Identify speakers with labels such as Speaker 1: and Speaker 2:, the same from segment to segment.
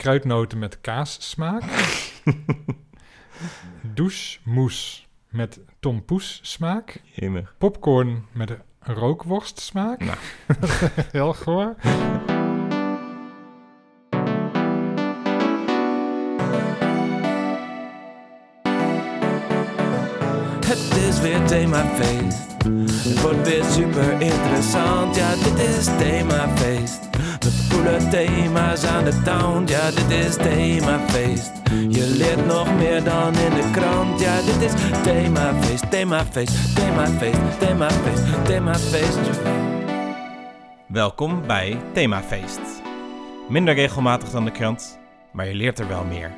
Speaker 1: kruidnoten met kaassmaak. Douchemoes met tompoes smaak.
Speaker 2: Jemig.
Speaker 1: Popcorn met rookworst smaak.
Speaker 2: Nou.
Speaker 1: Heel goor.
Speaker 3: Het is weer themafeest. Het wordt weer super interessant. Ja, dit is themafeest. Met coole thema's aan de town. Ja, dit is themafeest. Je leert nog meer dan in de krant. Ja, dit is themafeest, themafeest, themafeest, themafeest, themafeest.
Speaker 2: Welkom bij Themafeest. Minder regelmatig dan de krant, maar je leert er wel meer.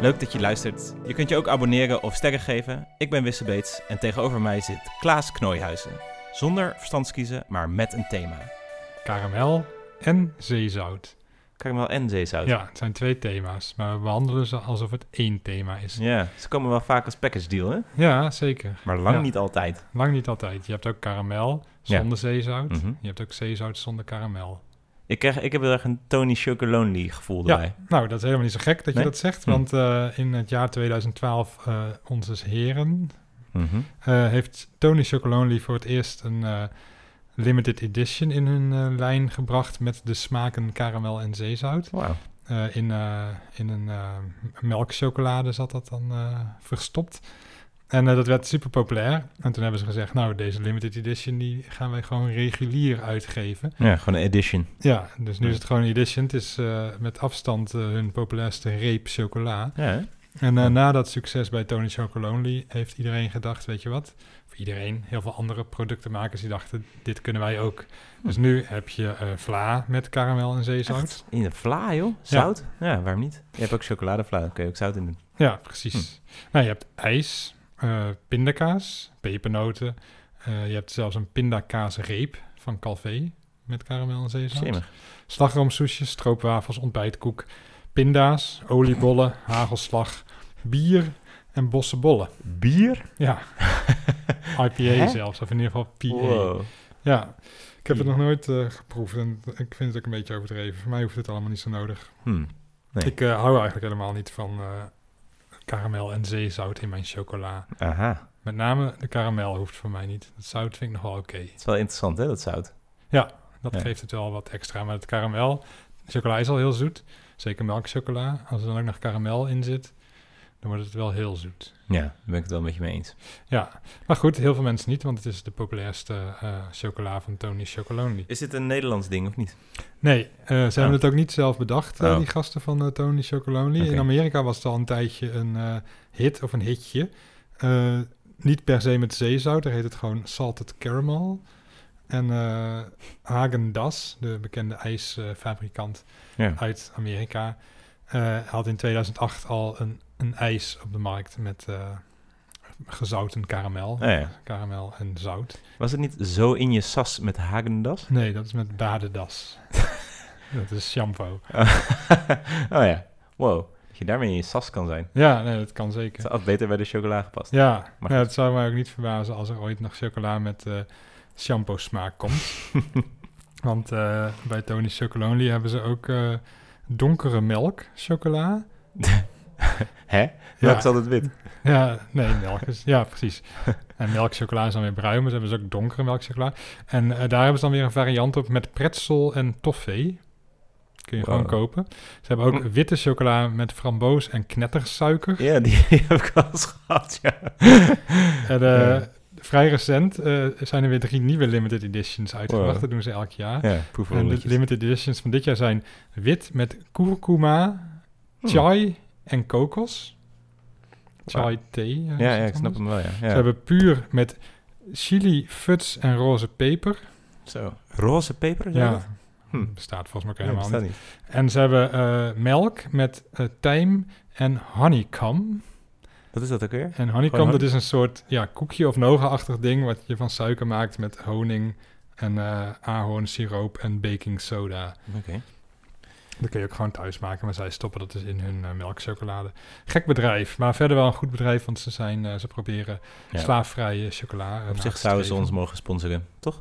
Speaker 2: Leuk dat je luistert. Je kunt je ook abonneren of sterren geven. Ik ben Wisse Beets en tegenover mij zit Klaas Knooihuizen. Zonder verstandskiezen, maar met een thema.
Speaker 1: Karamel en zeezout.
Speaker 2: Karamel en zeezout.
Speaker 1: Ja, het zijn twee thema's, maar we behandelen ze alsof het één thema is. Ja,
Speaker 2: Ja, ze komen wel vaak als package deal, hè?
Speaker 1: zeker.
Speaker 2: Maar lang
Speaker 1: Ja.
Speaker 2: niet altijd.
Speaker 1: Lang niet altijd. Je hebt ook karamel
Speaker 2: Ja.
Speaker 1: zonder zeezout.
Speaker 2: Mhm.
Speaker 1: Je hebt ook zeezout zonder karamel.
Speaker 2: Ik, krijg, ik heb heel erg een Tony Chocolonely gevoel
Speaker 1: Ja.
Speaker 2: erbij.
Speaker 1: Nou, dat is helemaal niet zo gek dat
Speaker 2: Nee?
Speaker 1: je dat zegt,
Speaker 2: Hm.
Speaker 1: want eh, in het jaar 2012, eh onze heren,
Speaker 2: Mhm.
Speaker 1: eh, heeft Tony Chocolonely voor het eerst een eh, limited edition in hun eh, lijn gebracht met de smaken karamel en zeezout.
Speaker 2: Wauw.
Speaker 1: Eh, in, eh, in een eh, melkchocolade zat dat dan eh, verstopt. En eh, dat werd super populair. En toen hebben ze gezegd, nou, deze limited edition die gaan wij gewoon regulier uitgeven.
Speaker 2: Ja, gewoon een edition.
Speaker 1: Ja, dus nu
Speaker 2: Ja.
Speaker 1: is het gewoon een edition. Het is eh, met afstand eh, hun populairste reep chocola.
Speaker 2: Ja, hè?
Speaker 1: En eh,
Speaker 2: Ja.
Speaker 1: na dat succes bij Tony Chocolonely heeft iedereen gedacht, weet je wat? Of iedereen, heel veel andere productenmakers die dachten, dit kunnen wij ook. Dus nu heb je eh, vla met karamel en zeezout.
Speaker 2: Hm. Echt? In een vla, joh? Zout? Ja. waarom niet? Je hebt ook chocoladevla, daar kun je ook zout in doen.
Speaker 1: Ja, precies.
Speaker 2: Hm.
Speaker 1: Nou, je hebt ijs, eh, pindakaas, pepernoten. Eh, je hebt zelfs een pindakaasreep van Calvé met karamel en zeezout.
Speaker 2: Slimmig.
Speaker 1: Slagroomsoesjes, stroopwafels, ontbijtkoek, pinda's, oliebollen, hagelslag, bier en bossenbollen.
Speaker 2: Bier?
Speaker 1: Ja, IPA
Speaker 2: Hè?
Speaker 1: zelfs, of in ieder geval PA.
Speaker 2: Wow.
Speaker 1: Ja, ik heb het nog
Speaker 2: Bier.
Speaker 1: nooit eh, geproefd en ik vind het ook een beetje overdreven. Voor mij hoeft het allemaal niet zo nodig.
Speaker 2: Hmm. Nee.
Speaker 1: Ik eh, hou eigenlijk helemaal niet van eh, karamel en zeezout in mijn chocola.
Speaker 2: Aha.
Speaker 1: Met name de karamel hoeft voor mij niet. Het zout vind ik nog wel oké.
Speaker 2: Het is wel interessant, hè, dat zout.
Speaker 1: Dat
Speaker 2: Ja.
Speaker 1: geeft het wel wat extra. Maar het karamel, chocola is al heel zoet. Zeker melkchocola. Als er dan ook nog karamel in zit, dan wordt het wel heel zoet.
Speaker 2: Ja, daar ben ik het wel een beetje mee eens.
Speaker 1: Ja, maar goed, heel veel mensen niet, want het is de populairste eh, chocola van Tony Chocolonely.
Speaker 2: Is dit een Nederlands ding of niet?
Speaker 1: Nee, eh, ze hebben
Speaker 2: Oh.
Speaker 1: het ook niet zelf bedacht, eh,
Speaker 2: Oh.
Speaker 1: die gasten van eh, Tony Chocolonely.
Speaker 2: Oké.
Speaker 1: In Amerika was het al een tijdje een eh, hit of een hitje. Eh, niet per se met zeezout, daar heet het gewoon salted caramel. En eh Hagen Dass, de bekende ijsfabrikant
Speaker 2: Ja.
Speaker 1: uit Amerika, eh, had in 2008 al een, een ijs op de markt met eh, gezouten karamel.
Speaker 2: Ah, ja.
Speaker 1: Karamel en zout.
Speaker 2: Was het niet zo in je sas met Hagendas?
Speaker 1: Nee, dat is met badendas. dat is shampoo.
Speaker 2: oh ja. Wow. Dat je daarmee in je sas kan zijn.
Speaker 1: Ja, nee, dat kan
Speaker 2: Het
Speaker 1: zeker.
Speaker 2: is altijd beter bij de chocola gepast.
Speaker 1: Ja,
Speaker 2: Maar
Speaker 1: nou, het zou mij ook niet verbazen als er ooit nog chocola met eh, shampoo smaak komt. Want eh, bij Tony Chocolonely hebben ze ook eh, donkere melk chocola.
Speaker 2: Hè? Dat is altijd wit.
Speaker 1: ja, nee, melk is... Ja, precies. En melkchocola is dan weer bruin, maar ze hebben dus ook donkere melkchocola. En eh, daar hebben ze dan weer een variant op met pretzel en toffee. Kun je gewoon
Speaker 2: Wow.
Speaker 1: kopen. Ze hebben ook
Speaker 2: Mm.
Speaker 1: witte chocola met framboos en knettersuiker.
Speaker 2: Ja, die heb ik al eens gehad, ja.
Speaker 1: En, eh,
Speaker 2: Ja.
Speaker 1: Vrij recent eh, zijn er weer drie nieuwe limited editions uitgebracht.
Speaker 2: Wow.
Speaker 1: Dat doen ze elk jaar.
Speaker 2: Ja, proeven
Speaker 1: en de limited editions van dit jaar zijn wit met kurkuma,
Speaker 2: Hmm. Hm.
Speaker 1: chai en kokos. Chai thee. eh,
Speaker 2: Ja,
Speaker 1: is
Speaker 2: ja,
Speaker 1: het
Speaker 2: ik snap
Speaker 1: anders.
Speaker 2: hem wel, ja. ja.
Speaker 1: Ze hebben puur met chili, futs en roze peper.
Speaker 2: Zo. Roze peper? zei
Speaker 1: Ja,
Speaker 2: je dat? Hm.
Speaker 1: bestaat volgens mij ook
Speaker 2: Nee,
Speaker 1: helemaal
Speaker 2: bestaat
Speaker 1: niet.
Speaker 2: niet.
Speaker 1: En ze hebben eh, melk met eh tijm en honeycomb.
Speaker 2: Wat is dat ook weer?
Speaker 1: En honeycomb,
Speaker 2: Gewoon
Speaker 1: dat is een soort ja, koekje of noga-achtig ding... wat je van suiker maakt met honing en eh ahornsiroop en baking soda.
Speaker 2: Oké.
Speaker 1: Dat kun je ook gewoon thuis maken, maar zij stoppen dat dus in hun eh, melkchocolade. Gek bedrijf, maar verder wel een goed bedrijf... want ze, zijn, eh, ze proberen
Speaker 2: Ja.
Speaker 1: slaafvrije chocola... eh,
Speaker 2: Op
Speaker 1: na
Speaker 2: zich
Speaker 1: te
Speaker 2: zouden ze
Speaker 1: streven.
Speaker 2: ons mogen sponsoren, toch?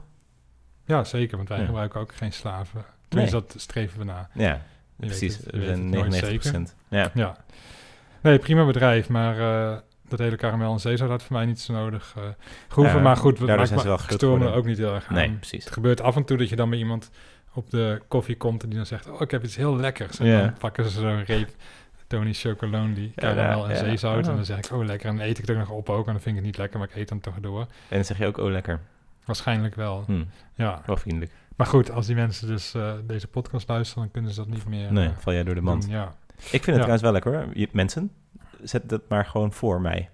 Speaker 1: Ja, zeker, want wij
Speaker 2: Ja.
Speaker 1: gebruiken ook geen slaven. Tenminste, dat streven we na.
Speaker 2: Ja.
Speaker 1: weet
Speaker 2: precies.
Speaker 1: het-
Speaker 2: we
Speaker 1: je weet
Speaker 2: zijn
Speaker 1: het nooit
Speaker 2: 99
Speaker 1: zeker.
Speaker 2: Ja.
Speaker 1: Ja. Nee, prima bedrijf, maar eh, dat hele karamel en zeezout had voor mij niet zo nodig eh gehoeven.
Speaker 2: Ja,
Speaker 1: maar goed,
Speaker 2: daardoor
Speaker 1: maakt
Speaker 2: zijn ze
Speaker 1: me-
Speaker 2: wel
Speaker 1: ik
Speaker 2: groot
Speaker 1: stoor me
Speaker 2: geworden.
Speaker 1: ook niet heel erg aan.
Speaker 2: Nee, precies.
Speaker 1: Het gebeurt af en toe dat je dan met iemand op de koffie komt en die dan zegt, oh, ik heb iets heel lekkers. En
Speaker 2: Ja.
Speaker 1: dan pakken ze zo'n reep Tony Chocolon, die
Speaker 2: Ja,
Speaker 1: karamel en
Speaker 2: ja.
Speaker 1: zeezout.
Speaker 2: Oh.
Speaker 1: En dan zeg ik, oh, lekker. En dan eet ik het ook nog op ook. En dan vind ik het niet lekker, maar ik eet hem toch door.
Speaker 2: En dan zeg je ook, oh lekker.
Speaker 1: Waarschijnlijk wel,
Speaker 2: Hm,
Speaker 1: ja.
Speaker 2: wel vriendelijk.
Speaker 1: Maar goed, als die mensen dus eh, deze podcast luisteren, dan kunnen ze dat niet meer
Speaker 2: Nee,
Speaker 1: eh,
Speaker 2: val jij door de
Speaker 1: doen.
Speaker 2: mand.
Speaker 1: Ja.
Speaker 2: Ik vind het trouwens wel lekker hoor. Je- mensen, zet dat maar gewoon voor mij.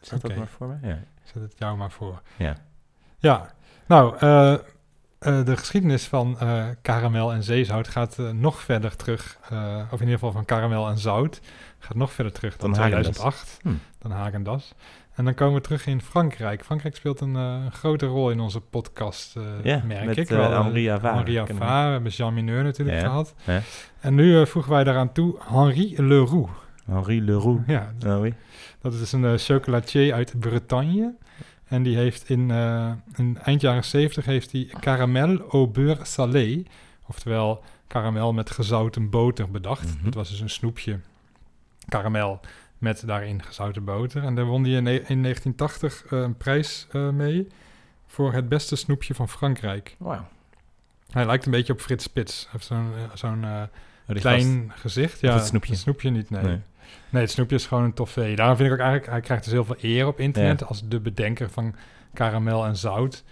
Speaker 2: Zet dat
Speaker 1: Oké.
Speaker 2: maar voor mij? Ja.
Speaker 1: Ik Zet het jou maar voor.
Speaker 2: Ja.
Speaker 1: Ja. Nou, eh, eh, de geschiedenis van eh, karamel en zeezout gaat eh, nog verder terug. eh, of in ieder geval van karamel en zout. Gaat nog verder terug dan,
Speaker 2: Dan Häagen-Dazs.
Speaker 1: 2008.
Speaker 2: Hm.
Speaker 1: Dan Hagendas. En dan komen we terug in Frankrijk. Frankrijk speelt een eh, grote rol in onze podcast, eh,
Speaker 2: Ja,
Speaker 1: merk
Speaker 2: met,
Speaker 1: ik.
Speaker 2: eh,
Speaker 1: Wel, eh,
Speaker 2: Henri Havard
Speaker 1: Henri
Speaker 2: kennen we.
Speaker 1: Havard, we hebben Jean Mineur natuurlijk
Speaker 2: Ja,
Speaker 1: gehad.
Speaker 2: ja.
Speaker 1: En nu eh, voegen wij daaraan toe Henri Leroux.
Speaker 2: Henri Leroux.
Speaker 1: Ja,
Speaker 2: Oh, oui.
Speaker 1: dat is dus een eh, chocolatier uit Bretagne. En die heeft in, eh, in eind jaren 70 heeft hij caramel au beurre salé. Oftewel karamel met gezouten boter bedacht.
Speaker 2: Mhm.
Speaker 1: Dat was dus een snoepje karamel met daarin gezouten boter. En daar won hij in, ne- in 1980 eh, een prijs eh, mee voor het beste snoepje van Frankrijk.
Speaker 2: Wauw.
Speaker 1: Hij lijkt een beetje op Frits Spits. Hij heeft zo'n eh, zo'n eh,
Speaker 2: Oh, die gast.
Speaker 1: klein gezicht. Ja,
Speaker 2: het snoepje.
Speaker 1: Het snoepje niet, nee.
Speaker 2: Nee.
Speaker 1: nee. het snoepje is gewoon een toffee. Daarom vind ik ook eigenlijk... Hij krijgt dus heel veel eer op internet... als de bedenker van karamel en zout.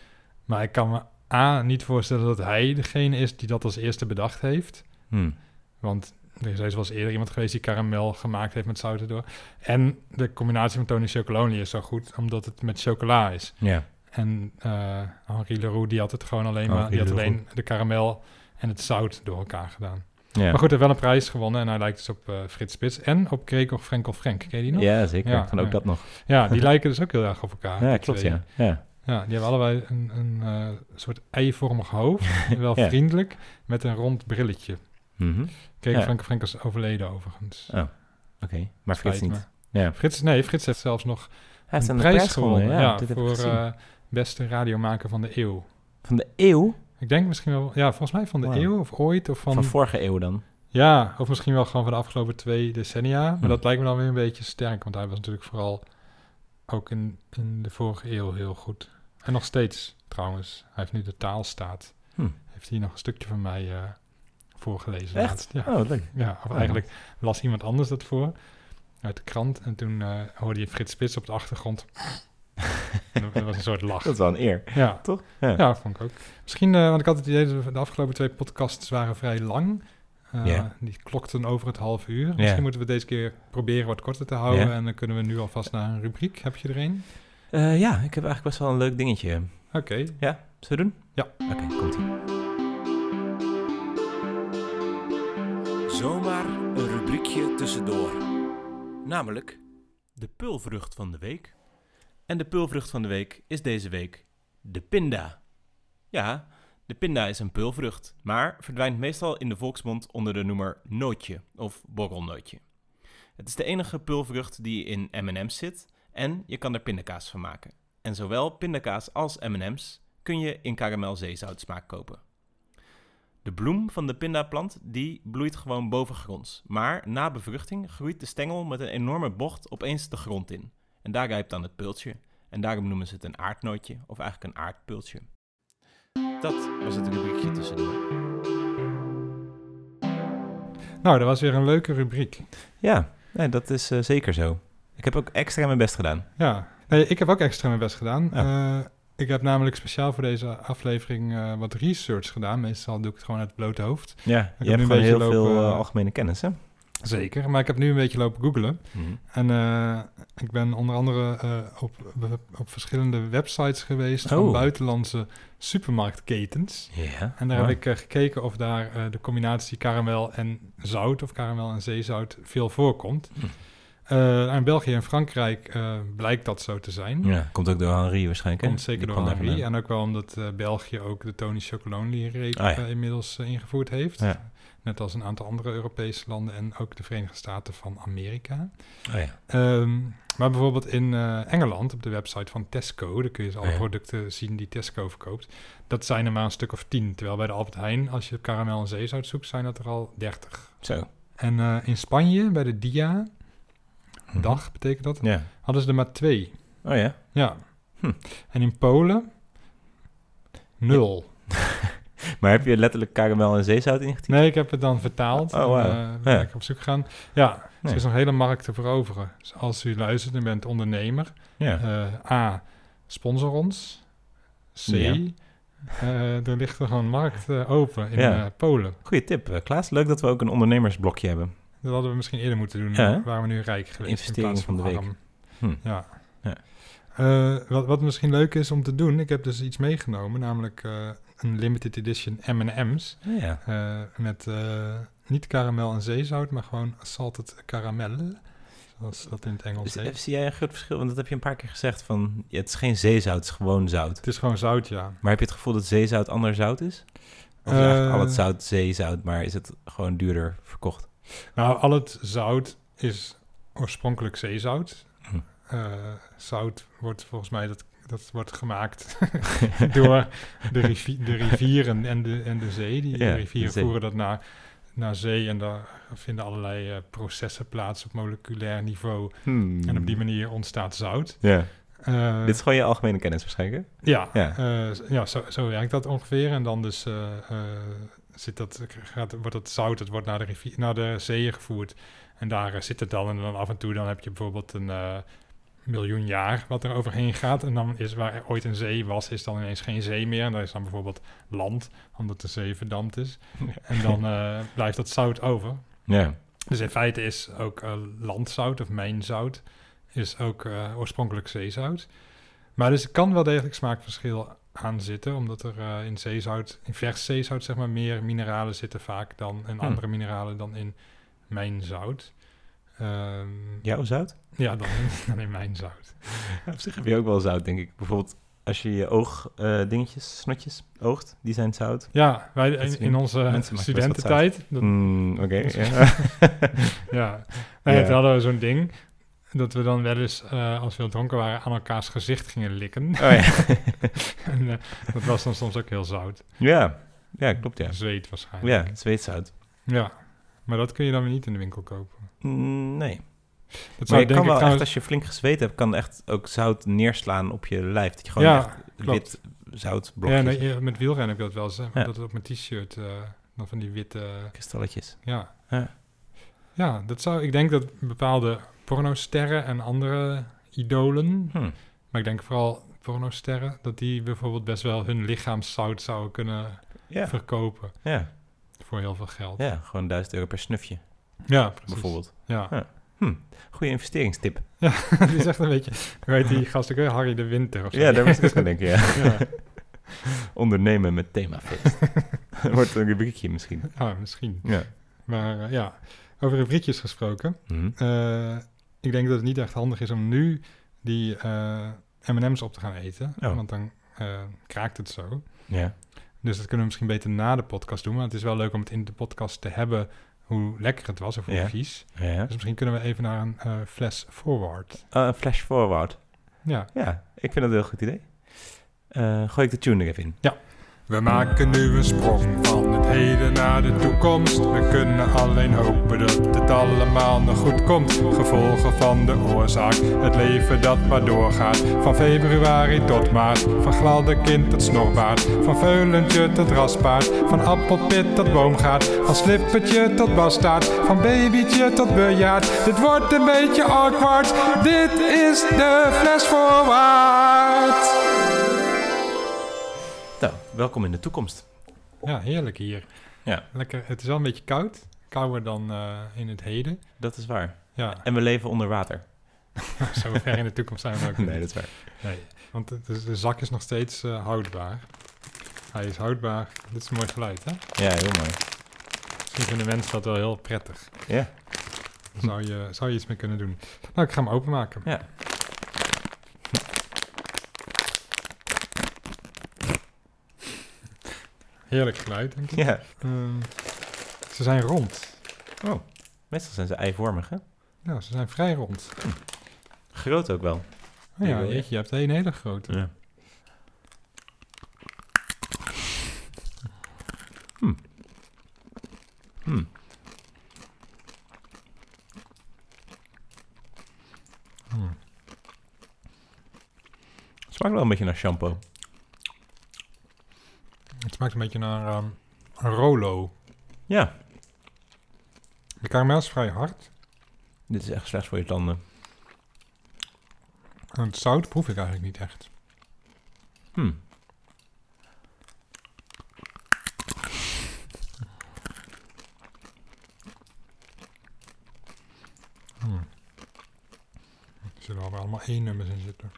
Speaker 1: Maar ik kan me A, niet voorstellen dat hij degene is... die dat als eerste bedacht heeft.
Speaker 2: Hm.
Speaker 1: Want er is wel eens eerder iemand geweest... die karamel gemaakt heeft met zout erdoor. En de combinatie van Tony Chocolonely is zo goed... omdat het met chocola is.
Speaker 2: Ja.
Speaker 1: En eh Henri Leroux die had het gewoon alleen
Speaker 2: Henri
Speaker 1: maar... die had
Speaker 2: Leroux.
Speaker 1: alleen de karamel en het zout door elkaar gedaan.
Speaker 2: Ja.
Speaker 1: Maar goed, hij heeft wel een prijs gewonnen en hij lijkt dus op eh, Frits Spits en op Gregor Frenkel Frank. Ken je die nog? Ja,
Speaker 2: ja, zeker.
Speaker 1: Ja,
Speaker 2: Van ook
Speaker 1: ja.
Speaker 2: dat nog.
Speaker 1: die lijken dus ook heel erg op elkaar.
Speaker 2: Ja,
Speaker 1: die
Speaker 2: klopt,
Speaker 1: twee.
Speaker 2: ja. ja.
Speaker 1: Ja, die hebben allebei een, een eh, soort eivormig hoofd, wel
Speaker 2: Ja.
Speaker 1: vriendelijk, met een rond brilletje.
Speaker 2: Mhm.
Speaker 1: Gregor
Speaker 2: Ja.
Speaker 1: Frenkel Frank is overleden overigens.
Speaker 2: Oké, maar
Speaker 1: Spijt
Speaker 2: vergeet het niet.
Speaker 1: me.
Speaker 2: Ja.
Speaker 1: Frits, nee, Frits heeft zelfs nog
Speaker 2: Hij heeft
Speaker 1: een
Speaker 2: een
Speaker 1: prijs,
Speaker 2: gewonnen, ja. dit heb ik
Speaker 1: voor
Speaker 2: gezien.
Speaker 1: eh, beste radiomaker van de eeuw.
Speaker 2: van de eeuw?
Speaker 1: Ik denk misschien wel, ja, volgens mij van de
Speaker 2: Wauw.
Speaker 1: eeuw of ooit of
Speaker 2: Van, vorige eeuw dan.
Speaker 1: Ja, of misschien wel gewoon van de afgelopen twee decennia. Maar
Speaker 2: Hm.
Speaker 1: dat lijkt me dan weer een beetje sterk. Want hij was natuurlijk vooral ook in, in de vorige eeuw heel goed. En nog steeds trouwens. Hij heeft nu de taalstaat.
Speaker 2: Hm.
Speaker 1: Heeft hij nog een stukje van mij eh, voorgelezen.
Speaker 2: Echt?
Speaker 1: laatst. Ja.
Speaker 2: Oh, wat leuk.
Speaker 1: ja, of
Speaker 2: Oh.
Speaker 1: eigenlijk las iemand anders dat voor. Uit de krant. En toen eh, hoorde je Frits Spits op de achtergrond. En dat was een soort lach.
Speaker 2: Dat is wel een eer,
Speaker 1: Ja,
Speaker 2: toch? Ja.
Speaker 1: ja, vond ik ook. Misschien, eh, want ik had het idee dat we de afgelopen twee podcasts waren vrij lang. Eh,
Speaker 2: Ja.
Speaker 1: Die klokten over het half uur. Misschien moeten we deze keer proberen wat korter te houden.
Speaker 2: Ja.
Speaker 1: En dan kunnen we nu alvast naar een rubriek. Heb je er een?
Speaker 2: Eh, ja, ik heb eigenlijk best wel een leuk dingetje.
Speaker 1: Oké.
Speaker 2: Ja, zullen we doen?
Speaker 1: Ja.
Speaker 2: Oké, komt-ie.
Speaker 3: Zomaar een rubriekje tussendoor.
Speaker 2: Namelijk de pulvrucht van de week. En de pulvrucht van de week is deze week de pinda. Ja, de pinda is een pulvrucht, maar verdwijnt meestal in de volksmond onder de noemer nootje of borrelnootje. Het is de enige pulvrucht die in M&M's zit en je kan er pindakaas van maken. En zowel pindakaas als M&M's kun je in karamelzeezout smaak kopen. De bloem van de pindaplant die bloeit gewoon bovengronds. Maar na bevruchting groeit de stengel met een enorme bocht opeens de grond in. En daar rijpt dan het pultje. En daarom noemen ze het een aardnootje of eigenlijk een aardpultje. Dat was het rubriekje tussendoor.
Speaker 1: Nou, dat was weer een leuke rubriek.
Speaker 2: Ja, nee, dat is eh, zeker zo. Ik heb ook extra mijn best gedaan.
Speaker 1: Ja. Nee, ik heb ook extra mijn best gedaan.
Speaker 2: Ja.
Speaker 1: Eh, ik heb namelijk speciaal voor deze aflevering eh, wat research gedaan. Meestal doe ik het gewoon uit het blote hoofd.
Speaker 2: Ja,
Speaker 1: heb
Speaker 2: je hebt
Speaker 1: nu een
Speaker 2: gewoon heel
Speaker 1: beetje
Speaker 2: veel
Speaker 1: lopen-
Speaker 2: eh, algemene kennis, hè?
Speaker 1: Zeker. Maar ik heb nu een beetje lopen googelen. En eh, ik ben onder andere eh, op, op verschillende websites geweest
Speaker 2: Oh.
Speaker 1: van buitenlandse supermarktketens.
Speaker 2: Ja.
Speaker 1: En daar heb ik eh, gekeken of daar eh, de combinatie karamel en zout of karamel en zeezout veel voorkomt.
Speaker 2: Hm.
Speaker 1: Eh nou, in België en Frankrijk eh, blijkt dat zo te zijn.
Speaker 2: Ja, komt ook door Henri waarschijnlijk, hè?
Speaker 1: Komt zeker
Speaker 2: Die
Speaker 1: door
Speaker 2: kwam daar
Speaker 1: Henri.
Speaker 2: vandaan.
Speaker 1: eh, En ook wel omdat eh, België ook de Tony Chocolonely reep
Speaker 2: Ah, ja.
Speaker 1: eh, inmiddels eh, ingevoerd heeft.
Speaker 2: Ja.
Speaker 1: Net als een aantal andere Europese landen en ook de Verenigde Staten van Amerika.
Speaker 2: Oh ja.
Speaker 1: Ehm, maar bijvoorbeeld in eh, Engeland, op de website van Tesco, daar kun je dus alle
Speaker 2: Oh Ja.
Speaker 1: producten zien die Tesco verkoopt. Dat zijn er maar een stuk of tien. Terwijl bij de Albert Heijn, als je karamel en zeezout zoekt, zijn dat er al dertig.
Speaker 2: Zo.
Speaker 1: En eh, in Spanje, bij de Dia,
Speaker 2: Mhm.
Speaker 1: dag betekent dat,
Speaker 2: Ja.
Speaker 1: hadden ze er maar twee.
Speaker 2: Oh ja.
Speaker 1: Ja.
Speaker 2: Hm.
Speaker 1: En in Polen, nul.
Speaker 2: Maar heb je letterlijk karamel en zeezout ingetypt?
Speaker 1: Nee, ik heb het dan vertaald.
Speaker 2: Oh,
Speaker 1: en,
Speaker 2: wauw.
Speaker 1: eh, ben
Speaker 2: Ja.
Speaker 1: ik op zoek gegaan. Ja,
Speaker 2: Nee.
Speaker 1: er is nog een hele markt te veroveren. Dus als u luistert en bent ondernemer,
Speaker 2: Ja.
Speaker 1: Eh, A, sponsor ons. C,
Speaker 2: Ja.
Speaker 1: eh, er ligt er gewoon een markt eh, open in
Speaker 2: Ja.
Speaker 1: eh, Polen.
Speaker 2: Goeie tip, eh, Klaas. Leuk dat we ook een ondernemersblokje hebben.
Speaker 1: Dat hadden we misschien eerder moeten doen.
Speaker 2: Ja, hè?
Speaker 1: waar waren we nu rijk geweest
Speaker 2: investering
Speaker 1: in plaats
Speaker 2: van
Speaker 1: van,
Speaker 2: de week.
Speaker 1: arm.
Speaker 2: Hm.
Speaker 1: Ja.
Speaker 2: Ja.
Speaker 1: Eh, wat, wat misschien leuk is om te doen, ik heb dus iets meegenomen, namelijk eh, een limited edition M&M's
Speaker 2: Ja.
Speaker 1: eh, met eh, niet karamel en zeezout, maar gewoon salted caramel, zoals dat in het Engels
Speaker 2: Dus
Speaker 1: heet.
Speaker 2: even zie jij een groot verschil? Want dat heb je een paar keer gezegd van... ja, het is geen zeezout, het is gewoon zout.
Speaker 1: Het is gewoon zout, ja.
Speaker 2: Maar heb je het gevoel dat zeezout ander zout is? Of is
Speaker 1: Eh,
Speaker 2: eigenlijk al het zout zeezout, maar is het gewoon duurder verkocht?
Speaker 1: Nou, al het zout is oorspronkelijk zeezout.
Speaker 2: Hm.
Speaker 1: Eh, zout wordt volgens mij dat, dat wordt gemaakt door de, rivi- de rivieren en de, en de zee. Die
Speaker 2: Ja, de
Speaker 1: rivieren
Speaker 2: zee.
Speaker 1: voeren dat naar, naar zee en daar vinden allerlei eh, processen plaats op moleculair niveau.
Speaker 2: Hmm.
Speaker 1: En op die manier ontstaat zout.
Speaker 2: Hm. Ja.
Speaker 1: Eh,
Speaker 2: Dit is gewoon je algemene kennis waarschijnlijk, hè?
Speaker 1: ja,
Speaker 2: Ja.
Speaker 1: ja. ja zo, zo werkt dat ongeveer. En dan dus eh, eh, zit dat, gaat, wordt dat zout, het wordt naar de, rivier, naar de zeeën gevoerd. En daar eh, zit het dan. En dan af en toe dan heb je bijvoorbeeld een eh, miljoen jaar wat er overheen gaat. En dan is waar er ooit een zee was, is dan ineens geen zee meer. En daar is dan bijvoorbeeld land, omdat de zee verdampt is. En dan eh, blijft dat zout over.
Speaker 2: Ja.
Speaker 1: Dus in feite is ook eh, landzout of mijnzout is ook eh, oorspronkelijk zeezout. Maar dus er kan wel degelijk smaakverschil aan zitten, omdat er eh, in zeezout, in vers zeezout zeg maar, meer mineralen zitten vaak dan en
Speaker 2: Hm.
Speaker 1: andere mineralen dan in mijnzout. Ehm, ja,
Speaker 2: Jouw zout?
Speaker 1: dan, in, dan in mijnzout.
Speaker 2: Op zich heb je ook wel zout, denk ik. Bijvoorbeeld als je je oog eh, dingetjes, snotjes, oogt, die zijn zout.
Speaker 1: Ja, wij in,
Speaker 2: Mensen-
Speaker 1: in onze
Speaker 2: mensen maken best wat
Speaker 1: studententijd, dat-
Speaker 2: Mm, Oké, ja.
Speaker 1: Ja, nou ja,
Speaker 2: Ja.
Speaker 1: toen hadden we zo'n ding dat we dan wel eens, eh, als we heel dronken waren, aan elkaars gezicht gingen likken.
Speaker 2: Oh ja.
Speaker 1: en, eh, dat was dan soms ook heel zout.
Speaker 2: ja. Ja, klopt ja.
Speaker 1: Zweet waarschijnlijk.
Speaker 2: Ja, zweetzout.
Speaker 1: Ja. Maar dat kun je dan weer niet in de winkel kopen.
Speaker 2: Mm, nee.
Speaker 1: Dat
Speaker 2: Maar je kan
Speaker 1: denk
Speaker 2: wel
Speaker 1: ik
Speaker 2: echt,
Speaker 1: trouwens-
Speaker 2: als je flink gezweet hebt, kan echt ook zout neerslaan op je lijf. Dat je gewoon echt
Speaker 1: ja, klopt.
Speaker 2: wit zout
Speaker 1: Ja,
Speaker 2: blokjes,
Speaker 1: nee, ja, met wielrennen heb ik dat wel eens. hè,
Speaker 2: Ja.
Speaker 1: Dat het op mijn t-shirt, eh, dan van die witte...
Speaker 2: kristalletjes.
Speaker 1: Ja.
Speaker 2: Ja.
Speaker 1: Ja, dat zou... Ik denk dat bepaalde pornosterren en andere idolen...
Speaker 2: Hm.
Speaker 1: Maar ik denk vooral pornosterren, dat die bijvoorbeeld best wel hun lichaamszout zouden kunnen
Speaker 2: Ja.
Speaker 1: verkopen
Speaker 2: Ja.
Speaker 1: voor heel veel geld.
Speaker 2: ja, gewoon 1000 euro per snufje
Speaker 1: Ja, precies.
Speaker 2: bijvoorbeeld.
Speaker 1: Ja.
Speaker 2: Ja. Goede investeringstip.
Speaker 1: die is echt een beetje, hoe heet die gast ook weer? Harry de Winter of zo.
Speaker 2: Ja, daar was ik ook aan denken, ja.
Speaker 1: Ja.
Speaker 2: Ondernemen met themafeest. Wordt een rubriekje misschien.
Speaker 1: Ah, misschien.
Speaker 2: Ja.
Speaker 1: Maar eh, ja, over rubriekjes gesproken.
Speaker 2: Hm.
Speaker 1: Eh, ik denk dat het niet echt handig is om nu die eh, M&M's op te gaan eten.
Speaker 2: Oh.
Speaker 1: Want dan eh, kraakt het zo.
Speaker 2: Ja.
Speaker 1: Dus dat kunnen we misschien beter na de podcast doen. Maar het is wel leuk om het in de podcast te hebben hoe lekker het was of hoe
Speaker 2: Ja.
Speaker 1: vies.
Speaker 2: ja.
Speaker 1: Dus misschien kunnen we even naar een eh, flash forward.
Speaker 2: Oh, een flash forward.
Speaker 1: Ja.
Speaker 2: Ja, ik vind dat een heel goed idee. Eh, gooi ik de tune er even in.
Speaker 1: We maken nu een sprong van het heden naar de toekomst. We kunnen alleen hopen dat het allemaal nog goed komt. Gevolgen van de oorzaak, het leven dat maar doorgaat. Van februari tot maart, van gladde kind tot snorbaard. Van veulentje tot raspaard, van appelpit tot boomgaard. Van slippertje tot bastaard, van babytje tot bejaard. Dit wordt een beetje awkward, dit is de fles voorwaarts.
Speaker 2: Nou, welkom in de toekomst.
Speaker 1: Ja, heerlijk hier.
Speaker 2: Ja.
Speaker 1: Lekker. Het is wel een beetje koud. Kouder dan eh, in het heden.
Speaker 2: Dat is waar.
Speaker 1: Ja,
Speaker 2: En we leven onder water.
Speaker 1: zo ver in de toekomst zijn we ook niet.
Speaker 2: is waar.
Speaker 1: Nee. Want het is- de zak is nog steeds eh, houdbaar. Hij is houdbaar. Dit is een mooi geluid, hè?
Speaker 2: Ja, heel mooi.
Speaker 1: Misschien vinden mensen dat wel heel prettig.
Speaker 2: Ja.
Speaker 1: Daar Zou je, zou je iets mee kunnen doen. Nou, ik ga hem openmaken.
Speaker 2: Ja.
Speaker 1: Heerlijk geluid, denk ik.
Speaker 2: Ja.
Speaker 1: Ehm, het is Ze zijn rond.
Speaker 2: Oh, meestal zijn ze eivormig, hè?
Speaker 1: Ja, ze zijn vrij rond.
Speaker 2: Groot ook wel.
Speaker 1: Oh
Speaker 2: Die
Speaker 1: ja,
Speaker 2: wil je.
Speaker 1: jeetje, je hebt één hele grote.
Speaker 2: Ja.
Speaker 1: Hmm.
Speaker 2: Smaakt wel een beetje naar shampoo.
Speaker 1: Het smaakt een beetje naar ehm, een Rolo.
Speaker 2: Ja,
Speaker 1: De karamel is vrij hard.
Speaker 2: dit is echt slecht voor je tanden.
Speaker 1: En het zout proef ik eigenlijk niet echt.
Speaker 2: Hm.
Speaker 1: Hmm. Er zullen wel weer allemaal één nummers in zitten.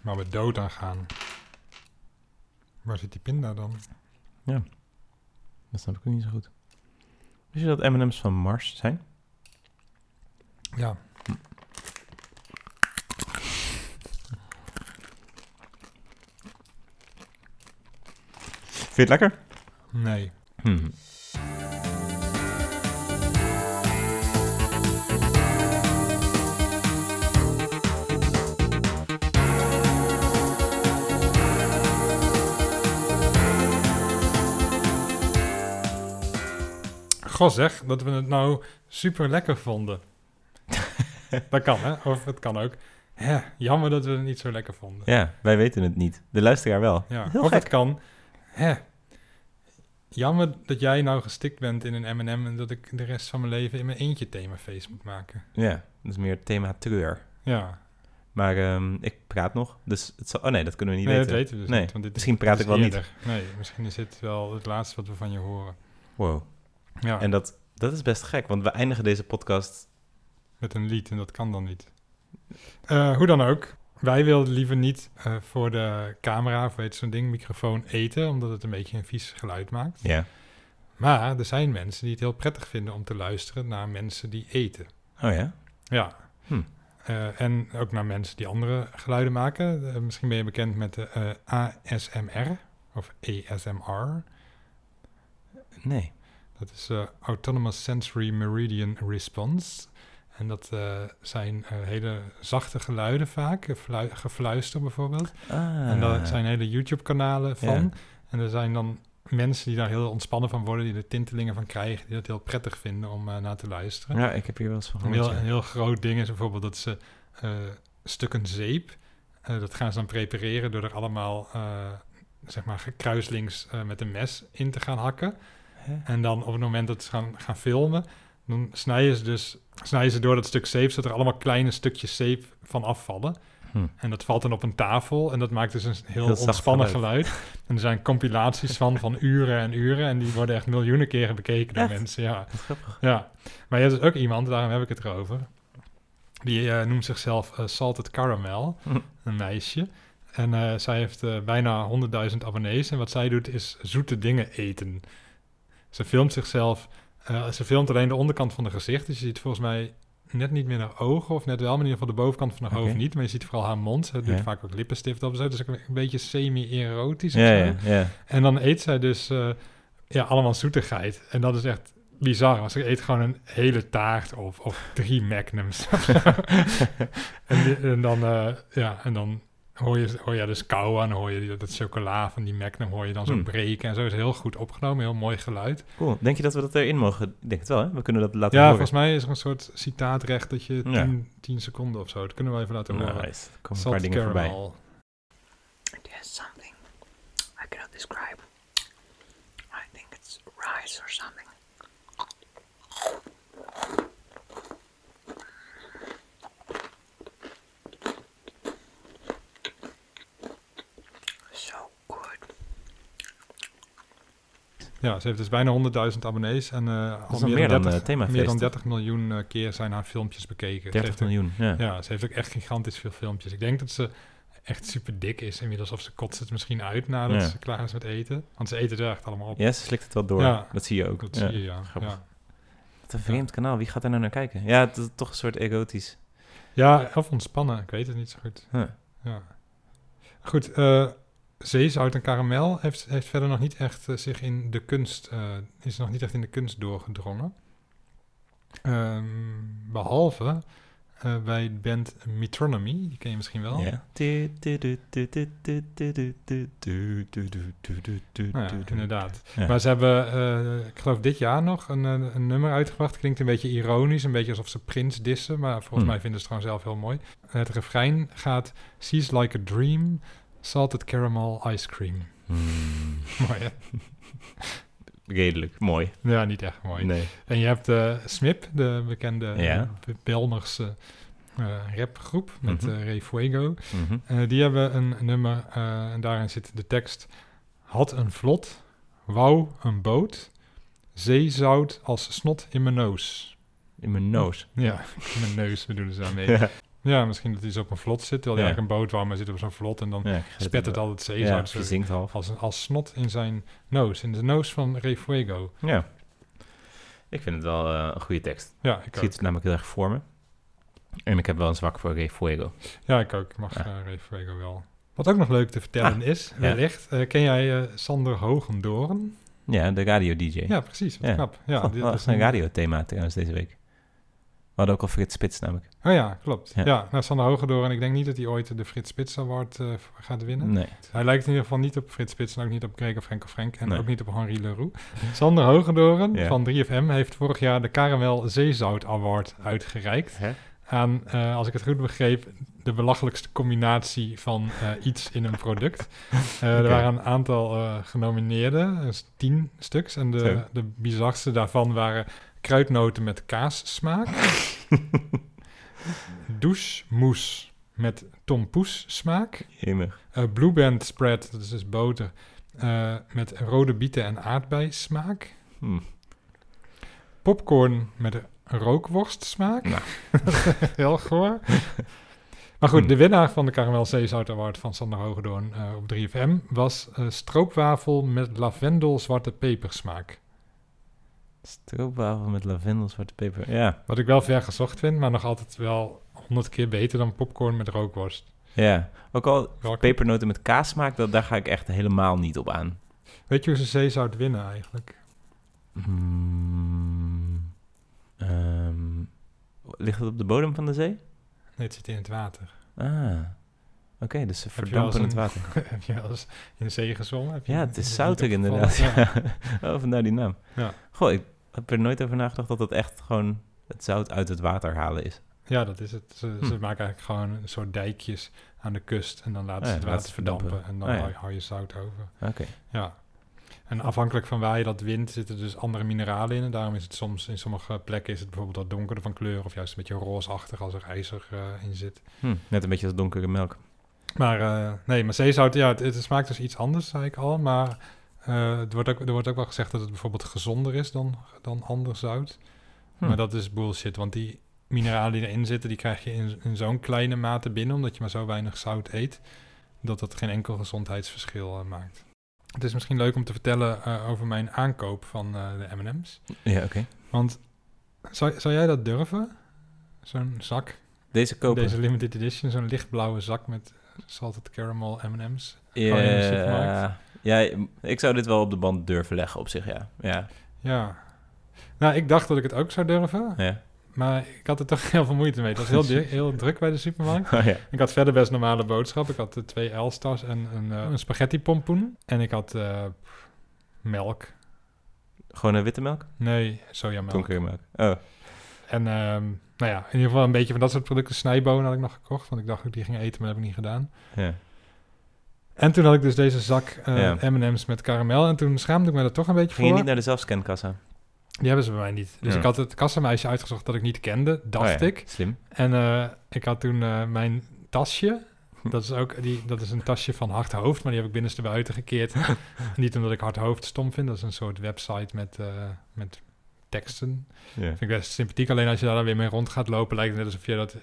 Speaker 1: Waar we dood aan gaan. Waar zit die pinda dan?
Speaker 2: Dat snap ik ook niet zo goed. Wist je dat M&M's van Mars zijn?
Speaker 1: Ja.
Speaker 2: Vind je het lekker?
Speaker 1: Nee.
Speaker 2: Hm.
Speaker 1: Goh zeg, dat we het nou super lekker vonden. dat kan hè, of het kan ook. Hè, jammer dat we het niet zo lekker vonden.
Speaker 2: Ja, wij weten het niet. De luisteraar wel.
Speaker 1: Ja,
Speaker 2: Heel
Speaker 1: of
Speaker 2: gek.
Speaker 1: het kan. Hè. Jammer dat jij nou gestikt bent in een M&M en dat ik de rest van mijn leven in mijn eentje themafeest moet maken.
Speaker 2: Ja, dat is meer thema treur.
Speaker 1: Ja,
Speaker 2: Maar ehm, ik praat nog, dus het zal... Oh nee, dat kunnen we niet
Speaker 1: nee, dat
Speaker 2: weten.
Speaker 1: weten we dus
Speaker 2: Nee,
Speaker 1: niet. Want dit
Speaker 2: misschien
Speaker 1: dit
Speaker 2: praat
Speaker 1: is
Speaker 2: ik wel niet.
Speaker 1: eerder. Nee, misschien is dit wel het laatste wat we van je horen.
Speaker 2: Wow.
Speaker 1: Ja,
Speaker 2: En dat, dat is best gek, want we eindigen deze podcast...
Speaker 1: met een lied en dat kan dan niet. Eh, hoe dan ook, wij wilden liever niet eh, voor de camera of weet je, zo'n ding, microfoon eten, omdat het een beetje een vies geluid maakt.
Speaker 2: Ja.
Speaker 1: Maar er zijn mensen die het heel prettig vinden om te luisteren naar mensen die eten.
Speaker 2: Oh ja?
Speaker 1: Ja.
Speaker 2: Hm.
Speaker 1: Eh, en ook naar mensen die andere geluiden maken. Eh, misschien ben je bekend met de eh, ASMR of ASMR.
Speaker 2: Nee.
Speaker 1: Dat is eh, Autonomous Sensory Meridian Response. En dat eh, zijn eh, hele zachte geluiden vaak, eh, flu- gefluister bijvoorbeeld.
Speaker 2: Ah.
Speaker 1: En daar zijn hele YouTube-kanalen van.
Speaker 2: Ja.
Speaker 1: En er zijn dan mensen die daar heel ontspannen van worden, die er tintelingen van krijgen, die dat heel prettig vinden om eh, naar te luisteren.
Speaker 2: Ja, ik heb hier wel eens van
Speaker 1: Een
Speaker 2: gehoord.
Speaker 1: heel, een
Speaker 2: ja.
Speaker 1: heel groot ding is bijvoorbeeld dat ze eh, stukken zeep, eh, dat gaan ze dan prepareren door er allemaal, eh, zeg maar, kruislings eh, met een mes in te gaan hakken.
Speaker 2: Hè?
Speaker 1: En dan op het moment dat ze gaan, gaan filmen, dan snijden ze dus snijden ze door dat stuk zeep, zodat er allemaal kleine stukjes zeep van afvallen.
Speaker 2: Hm.
Speaker 1: En dat valt dan op een tafel en dat maakt dus een heel,
Speaker 2: Heel zacht
Speaker 1: ontspannen geluid. En er zijn compilaties van, van uren en uren. En die worden echt miljoenen keren bekeken door
Speaker 2: Echt?
Speaker 1: mensen. Ja.
Speaker 2: Wat grappig.
Speaker 1: Ja, maar je hebt dus ook iemand, daarom heb ik het erover. Die eh, noemt zichzelf eh, Salted Caramel,
Speaker 2: Hm.
Speaker 1: een meisje. En eh, zij heeft eh, bijna 100.000 abonnees. En wat zij doet is zoete dingen eten. Ze filmt zichzelf. eh, ze filmt alleen de onderkant van haar gezicht. Dus je ziet volgens mij net niet meer haar ogen. Of net wel, maar in ieder geval de bovenkant van haar
Speaker 2: Oké.
Speaker 1: hoofd niet. Maar je ziet vooral haar mond. Ze doet
Speaker 2: Ja.
Speaker 1: vaak ook lippenstift op. en Zo. Dus ook een een beetje semi-erotisch. of
Speaker 2: Ja,
Speaker 1: zo.
Speaker 2: ja, ja.
Speaker 1: En dan eet zij dus eh, ja, allemaal zoetigheid. En dat is echt bizar. Want ze eet gewoon een hele taart op. Of drie magnums. of zo. en, die- en dan, eh, ja, en dan hoor je, hoor je dus kauwen. En hoor je die- dat chocola van die magnum hoor je dan zo
Speaker 2: Hmm.
Speaker 1: breken. En zo is heel goed opgenomen. Heel mooi geluid.
Speaker 2: Cool. Denk je dat we dat erin mogen? Ik denk het wel, hè? We kunnen dat laten
Speaker 1: ja,
Speaker 2: horen.
Speaker 1: volgens mij is er een soort citaatrecht dat je
Speaker 2: Ja.
Speaker 1: 10 10 seconden of zo. Dat kunnen we even laten horen.
Speaker 2: Nice. Er komen eh, een
Speaker 1: Salt
Speaker 2: paar dingen voorbij.
Speaker 1: caramel.
Speaker 4: There's something I cannot describe. I think it's rice or something. So good.
Speaker 1: Ja, ze heeft dus bijna 100.000 abonnees. En eh al
Speaker 2: is al meer dan, eh, themafeest,
Speaker 1: meer dan
Speaker 2: toch?
Speaker 1: 30 miljoen eh, keer zijn haar filmpjes bekeken. Ze
Speaker 2: 30
Speaker 1: heeft een-
Speaker 2: miljoen. Ja.
Speaker 1: Ja, ze heeft ook echt gigantisch veel filmpjes. Ik denk dat ze echt super dik is inmiddels. Of ze kotst het misschien uit nadat
Speaker 2: Ja.
Speaker 1: ze klaar is met eten. Want ze eten er echt allemaal op.
Speaker 2: Ja, ze slikt het wel door.
Speaker 1: Ja.
Speaker 2: Dat zie je ook.
Speaker 1: Dat
Speaker 2: ja.
Speaker 1: zie je, ja.
Speaker 2: grappig.
Speaker 1: ja.
Speaker 2: Wat een vreemd kanaal. Wie gaat daar nou naar kijken? Ja, het is toch een soort erotisch.
Speaker 1: Ja, of ontspannen. Ik weet het niet zo goed.
Speaker 2: Huh.
Speaker 1: Ja. Goed, eh, zeezout en karamel heeft, heeft verder nog niet echt eh, zich in de kunst, eh, is nog niet echt in de kunst doorgedrongen. Ehm, behalve eh, bij de band Metronomy, die ken je misschien wel.
Speaker 2: Ja.
Speaker 1: Nou ja, inderdaad.
Speaker 2: Ja.
Speaker 1: Maar ze hebben, eh, ik geloof dit jaar nog, een, eh, een nummer uitgebracht. Klinkt een beetje ironisch, een beetje alsof ze Prins dissen. Maar volgens
Speaker 2: Hmm.
Speaker 1: mij vinden ze het gewoon zelf heel mooi. Het refrein gaat, She's like a dream, salted caramel ice cream.
Speaker 2: Hmm,
Speaker 1: mooi hè?
Speaker 2: Redelijk, mooi.
Speaker 1: Ja, niet echt mooi.
Speaker 2: Nee.
Speaker 1: En je hebt eh Smip, de bekende
Speaker 2: Ja.
Speaker 1: eh, Belmerse eh, rapgroep met
Speaker 2: Mhm.
Speaker 1: eh, Ray Fuego.
Speaker 2: Mhm.
Speaker 1: Eh, die hebben een nummer eh, en daarin zit de tekst... Had een vlot, wou een boot, zeezout als snot in mijn neus.
Speaker 2: In mijn neus.
Speaker 1: Ja, in mijn neus bedoelen ze daarmee.
Speaker 2: Ja.
Speaker 1: Ja, misschien dat hij zo op een vlot zit, terwijl hij
Speaker 2: Ja.
Speaker 1: eigenlijk een boot wou, maar zit op zo'n vlot en dan
Speaker 2: Ja,
Speaker 1: spet het altijd
Speaker 2: Ja,
Speaker 1: zeezout zo
Speaker 2: verzinkt half.
Speaker 1: als, als snot in zijn neus, in de neus van Ray Fuego.
Speaker 2: Ja. Ik vind het wel eh, een goede tekst.
Speaker 1: Ja, ik
Speaker 2: Ik
Speaker 1: ook.
Speaker 2: zie het namelijk heel erg voor me. En ik heb wel een zwak voor Ray Fuego.
Speaker 1: Ja, ik ook. Ik mag
Speaker 2: Ja. Ah,
Speaker 1: eh Ray Fuego wel. Wat ook nog leuk te vertellen is, wellicht, eh, ken jij eh, Sander Hogendoorn?
Speaker 2: Ja, de radio-dj.
Speaker 1: Ja, precies. Wat
Speaker 2: Ja.
Speaker 1: knap. Ja,
Speaker 2: Goh,
Speaker 1: dit
Speaker 2: dat
Speaker 1: is
Speaker 2: is een radiothema trouwens deze week. We hadden ook al Frits Spits namelijk.
Speaker 1: Oh ja, klopt.
Speaker 2: Ja.
Speaker 1: Ja, nou, Sander Hogendoorn, ik denk niet dat hij ooit de Frits Spits Award eh, v- gaat winnen.
Speaker 2: Nee.
Speaker 1: Hij lijkt in ieder geval niet op Frits Spits en ook niet op Gregor Franco Frank en
Speaker 2: Nee.
Speaker 1: ook niet op Henri Leroux. Sander Hogendoorn
Speaker 2: Ja.
Speaker 1: van 3FM heeft vorig jaar de Caramel Zeezout Award uitgereikt.
Speaker 2: Hè?
Speaker 1: Aan, eh, als ik het goed begreep, de belachelijkste combinatie van eh, iets in een product. Eh,
Speaker 2: Oké.
Speaker 1: Er waren een aantal eh, genomineerden, dus tien stuks. En de,
Speaker 2: Zo.
Speaker 1: de bizarste daarvan waren kruidnoten met kaassmaak. Douchemoes met tompoes smaak.
Speaker 2: Hemig.
Speaker 1: Eh, Blue Band spread, dat is dus boter, eh, met rode bieten en aardbeismaak.
Speaker 2: Hm.
Speaker 1: Popcorn met rookworstsmaak.
Speaker 2: Nou.
Speaker 1: Heel goor. Maar goed,
Speaker 2: Hmm.
Speaker 1: de winnaar van de Caramel Zeezout Award van Sander Hogedoorn eh, op 3FM was eh, stroopwafel met lavendel zwarte pepersmaak.
Speaker 2: Stroopwafel met lavendel, zwarte peper. Ja,
Speaker 1: Wat ik wel ver gezocht vind, maar nog altijd wel honderd keer beter dan popcorn met rookworst.
Speaker 2: ja. Ook al
Speaker 1: Rook-
Speaker 2: pepernoten met kaassmaak, dat, daar ga ik echt helemaal niet op aan.
Speaker 1: Weet je hoe ze zeezout winnen eigenlijk?
Speaker 2: Hmm. Ehm, ligt het op de bodem van de zee?
Speaker 1: Nee, het zit in het water.
Speaker 2: Ah, oké, dus ze
Speaker 1: Heb je wel eens
Speaker 2: verdampen het
Speaker 1: een-
Speaker 2: water.
Speaker 1: Heb je wel eens in de zee gezongen? Heb je-
Speaker 2: Ja, het
Speaker 1: je
Speaker 2: is zouter
Speaker 1: niet
Speaker 2: inderdaad.
Speaker 1: opgevallen?
Speaker 2: Ja. oh, vandaar die naam.
Speaker 1: Ja.
Speaker 2: Goh, ik heb er nooit over nagedacht dat dat echt gewoon het zout uit het water halen is.
Speaker 1: Ja, dat is het. Ze, ze maken
Speaker 2: Hm.
Speaker 1: eigenlijk gewoon een soort dijkjes aan de kust en dan laten ze
Speaker 2: Ah ja,
Speaker 1: het
Speaker 2: laten
Speaker 1: water
Speaker 2: ze verdampen.
Speaker 1: verdampen. en dan
Speaker 2: Ah ja.
Speaker 1: hou, je- hou je zout over.
Speaker 2: Oké.
Speaker 1: Ja. En afhankelijk van waar je dat wint, zitten dus andere mineralen in. En daarom is het soms in sommige plekken is het bijvoorbeeld wat donkerder van kleur of juist een beetje roosachtig als er ijzer eh, in zit.
Speaker 2: Hm, net een beetje als donkere melk.
Speaker 1: Maar eh, nee, maar zeezout, ja, het, het smaakt dus iets anders, zei ik al. Maar eh, het wordt ook, er wordt ook wel gezegd dat het bijvoorbeeld gezonder is dan, dan ander zout.
Speaker 2: Hm.
Speaker 1: Maar dat is bullshit, want die mineralen die erin zitten, die krijg je in, in zo'n kleine mate binnen, omdat je maar zo weinig zout eet, dat dat geen enkel gezondheidsverschil eh, maakt. Het is misschien leuk om te vertellen eh, over mijn aankoop van eh, de M&M's.
Speaker 2: Ja, oké.
Speaker 1: Want zou, zou jij dat durven? Zo'n zak,
Speaker 2: Deze kopen.
Speaker 1: deze limited edition, zo'n lichtblauwe zak met salted caramel M&M's.
Speaker 2: Ja,
Speaker 1: gewoon in de supermarkt.
Speaker 2: ja, ik zou dit wel op de band durven leggen op zich, ja. Ja,
Speaker 1: Ja. Nou, ik dacht dat ik het ook zou durven,
Speaker 2: ja.
Speaker 1: maar ik had er toch heel veel moeite mee. Het was heel, du- heel druk bij de supermarkt.
Speaker 2: Oh, ja.
Speaker 1: Ik had verder best normale boodschap. Ik had eh, twee Elstas en een, eh een spaghetti pompoen. En ik had eh, pff, melk.
Speaker 2: Gewoon een witte melk?
Speaker 1: Nee, sojamelk.
Speaker 2: Donkere melk. Oh,
Speaker 1: En ehm, nou ja, in ieder geval een beetje van dat soort producten. Snijbonen had ik nog gekocht, want ik dacht dat ik die ging eten, maar dat heb ik niet gedaan.
Speaker 2: ja.
Speaker 1: En toen had ik dus deze zak eh,
Speaker 2: Ja.
Speaker 1: M&M's met karamel. En toen schaamde ik me er toch een beetje
Speaker 2: Ging je
Speaker 1: voor.
Speaker 2: niet naar de zelfscankassa?
Speaker 1: Die hebben ze bij mij niet. Dus
Speaker 2: Ja.
Speaker 1: ik had het kassameisje uitgezocht dat ik niet kende, dacht
Speaker 2: Oh ja,
Speaker 1: ik.
Speaker 2: Slim.
Speaker 1: En eh, ik had toen eh, mijn tasje. Dat is ook die, dat is een tasje van hard hoofd, maar die heb ik binnenste buiten gekeerd. Niet omdat ik hard hoofd stom vind. Dat is een soort website met, eh, met teksten.
Speaker 2: Ja.
Speaker 1: Vind ik best sympathiek. Alleen als je daar dan weer mee rond gaat lopen, lijkt het net alsof je dat.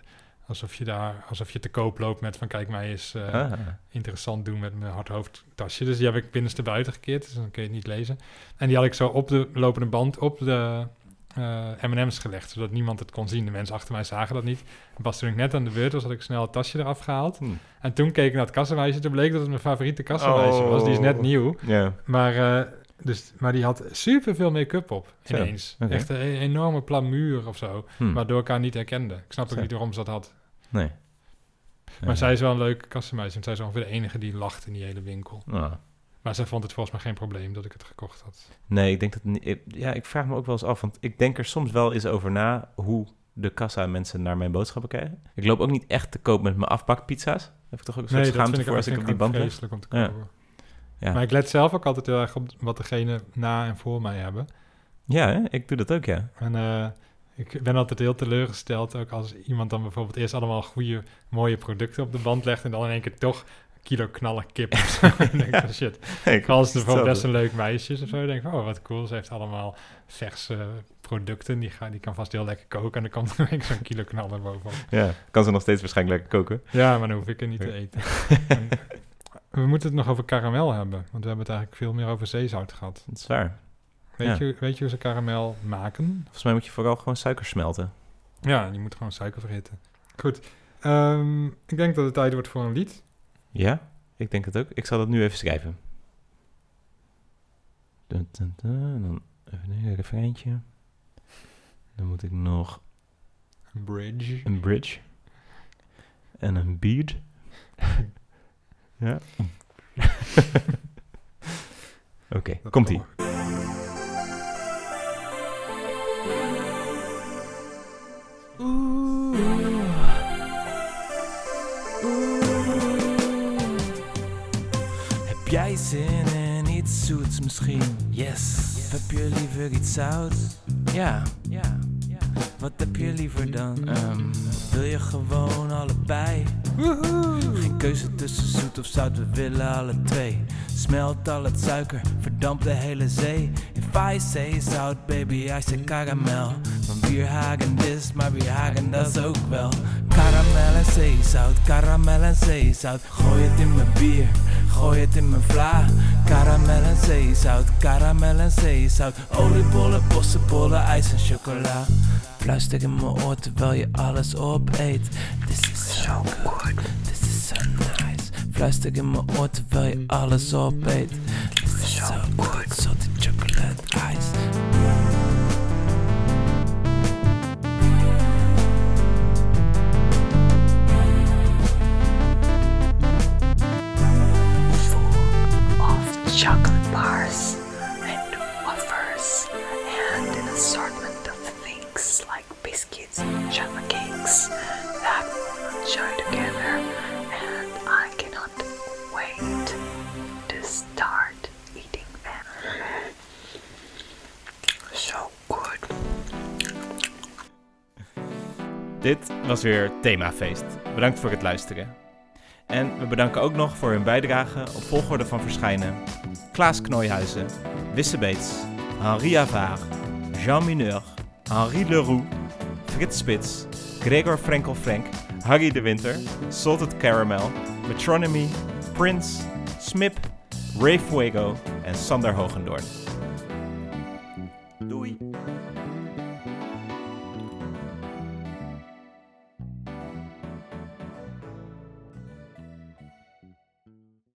Speaker 1: Alsof je daar, alsof je te koop loopt met van kijk mij eens eh,
Speaker 2: Ah.
Speaker 1: interessant doen met mijn hard hoofdtasje. Dus die heb ik binnenste buiten gekeerd, dus dan kun je het niet lezen. En die had ik zo op de lopende band op de eh, M&M's gelegd, zodat niemand het kon zien. De mensen achter mij zagen dat niet. En pas toen ik net aan de beurt was, had ik snel het tasje eraf gehaald.
Speaker 2: Hm.
Speaker 1: En toen keek ik naar het kassenwijsje. Toen bleek dat het mijn favoriete kassenwijsje was. Die is net
Speaker 2: Oh.
Speaker 1: nieuw.
Speaker 2: Ja.
Speaker 1: Maar, eh, dus, maar die had superveel make-up op,
Speaker 2: Zo,
Speaker 1: ineens.
Speaker 2: oké.
Speaker 1: Echt een e- enorme plamuur of zo,
Speaker 2: Hm.
Speaker 1: waardoor ik haar niet herkende. Ik snap ook
Speaker 2: Zo.
Speaker 1: niet waarom ze dat had.
Speaker 2: Nee.
Speaker 1: Maar zij is wel een leuke kassenmeisje, want zij is ongeveer de enige die lacht in die hele winkel.
Speaker 2: Ah.
Speaker 1: Maar zij vond het volgens mij geen probleem dat ik het gekocht had.
Speaker 2: Nee, ik denk dat. ni- ik- Ja, ik vraag me ook wel eens af. Want ik denk er soms wel eens over na hoe de kassa mensen naar mijn boodschappen kijken. Ik loop ook niet echt te koop met mijn afbakpizza's. Daar Heb ik toch ook een soort schaamte voor als ik
Speaker 1: vind
Speaker 2: op die
Speaker 1: ook
Speaker 2: band lig.
Speaker 1: vreselijk om te
Speaker 2: Ja.
Speaker 1: kopen.
Speaker 2: Ja.
Speaker 1: Maar ik let zelf ook altijd heel erg op wat degene na en voor mij hebben.
Speaker 2: Ja, hè? ik doe dat ook, ja.
Speaker 1: En eh, ik ben altijd heel teleurgesteld, ook als iemand dan bijvoorbeeld eerst allemaal goede, mooie producten op de band legt en dan in één keer toch een kilo knallen kip of zo. En dan denk ik van, shit,
Speaker 2: Ik
Speaker 1: Als er voor best een leuk meisje is of zo, dan denk ik, oh wat cool, ze heeft allemaal verse producten, die, ga, die kan vast heel lekker koken en dan komt er zo'n kilo knal er bovenop.
Speaker 2: Ja, kan ze nog steeds waarschijnlijk lekker koken.
Speaker 1: Ja, maar dan hoef ik het niet te eten. En we moeten het nog over karamel hebben, want we hebben het eigenlijk veel meer over zeezout gehad.
Speaker 2: Dat is waar.
Speaker 1: Weet,
Speaker 2: Ja.
Speaker 1: je, weet je hoe ze karamel maken?
Speaker 2: Volgens mij moet je vooral gewoon suiker smelten.
Speaker 1: Ja, je moet gewoon suiker verhitten. Goed, ehm, ik denk dat het tijd wordt voor een lied.
Speaker 2: Ja, ik denk het ook. Ik zal dat nu even schrijven. Dun, dun, dun, dan even een refreintje. Dan moet ik nog
Speaker 1: Bridge.
Speaker 2: een bridge. En een bead. ja. Oké, komt-ie.
Speaker 3: Heb jij zin in iets zoets misschien? Yes. Of heb je liever iets zouts? Ja. ja. Wat heb je liever dan? Ehm, wil je gewoon allebei? Geen keuze tussen zoet of zout, we willen alle twee. Smelt al het suiker, verdampt de hele zee. If I say zout, baby, I say karamel. Van Bierhagen dit, maar Bierhagen dat is ook wel. Karamel en zeezout, karamel en zeezout. Gooi het in mijn bier, gooi het in mijn vla. Karamel en zeezout, karamel en zeezout. Oliebollen, bossenbollen, ijs en chocola. Fluister in mijn oor terwijl je alles opeet. This is so good, this is so nice. Fluister in mijn oor terwijl je alles opeet. This is so good, salted chocolate ice.
Speaker 4: full of chocolate bars and wafers and an assortment of things like biscuits and java cakes that show together and I cannot wait to start eating them. So good.
Speaker 2: Dit was weer Themafeest. Bedankt voor het luisteren. En we bedanken ook nog voor hun bijdrage op volgorde van verschijnen. Klaas Knooihuizen, Wisse Beets, Henri Avaar, Jean Mineur, Henri Leroux, Frits Spits, Gregor Frenkel Frank, Harry de Winter, Salted Caramel, Metronomy, Prince, Smip, Ray Fuego en Sander Hogendoorn. Doei!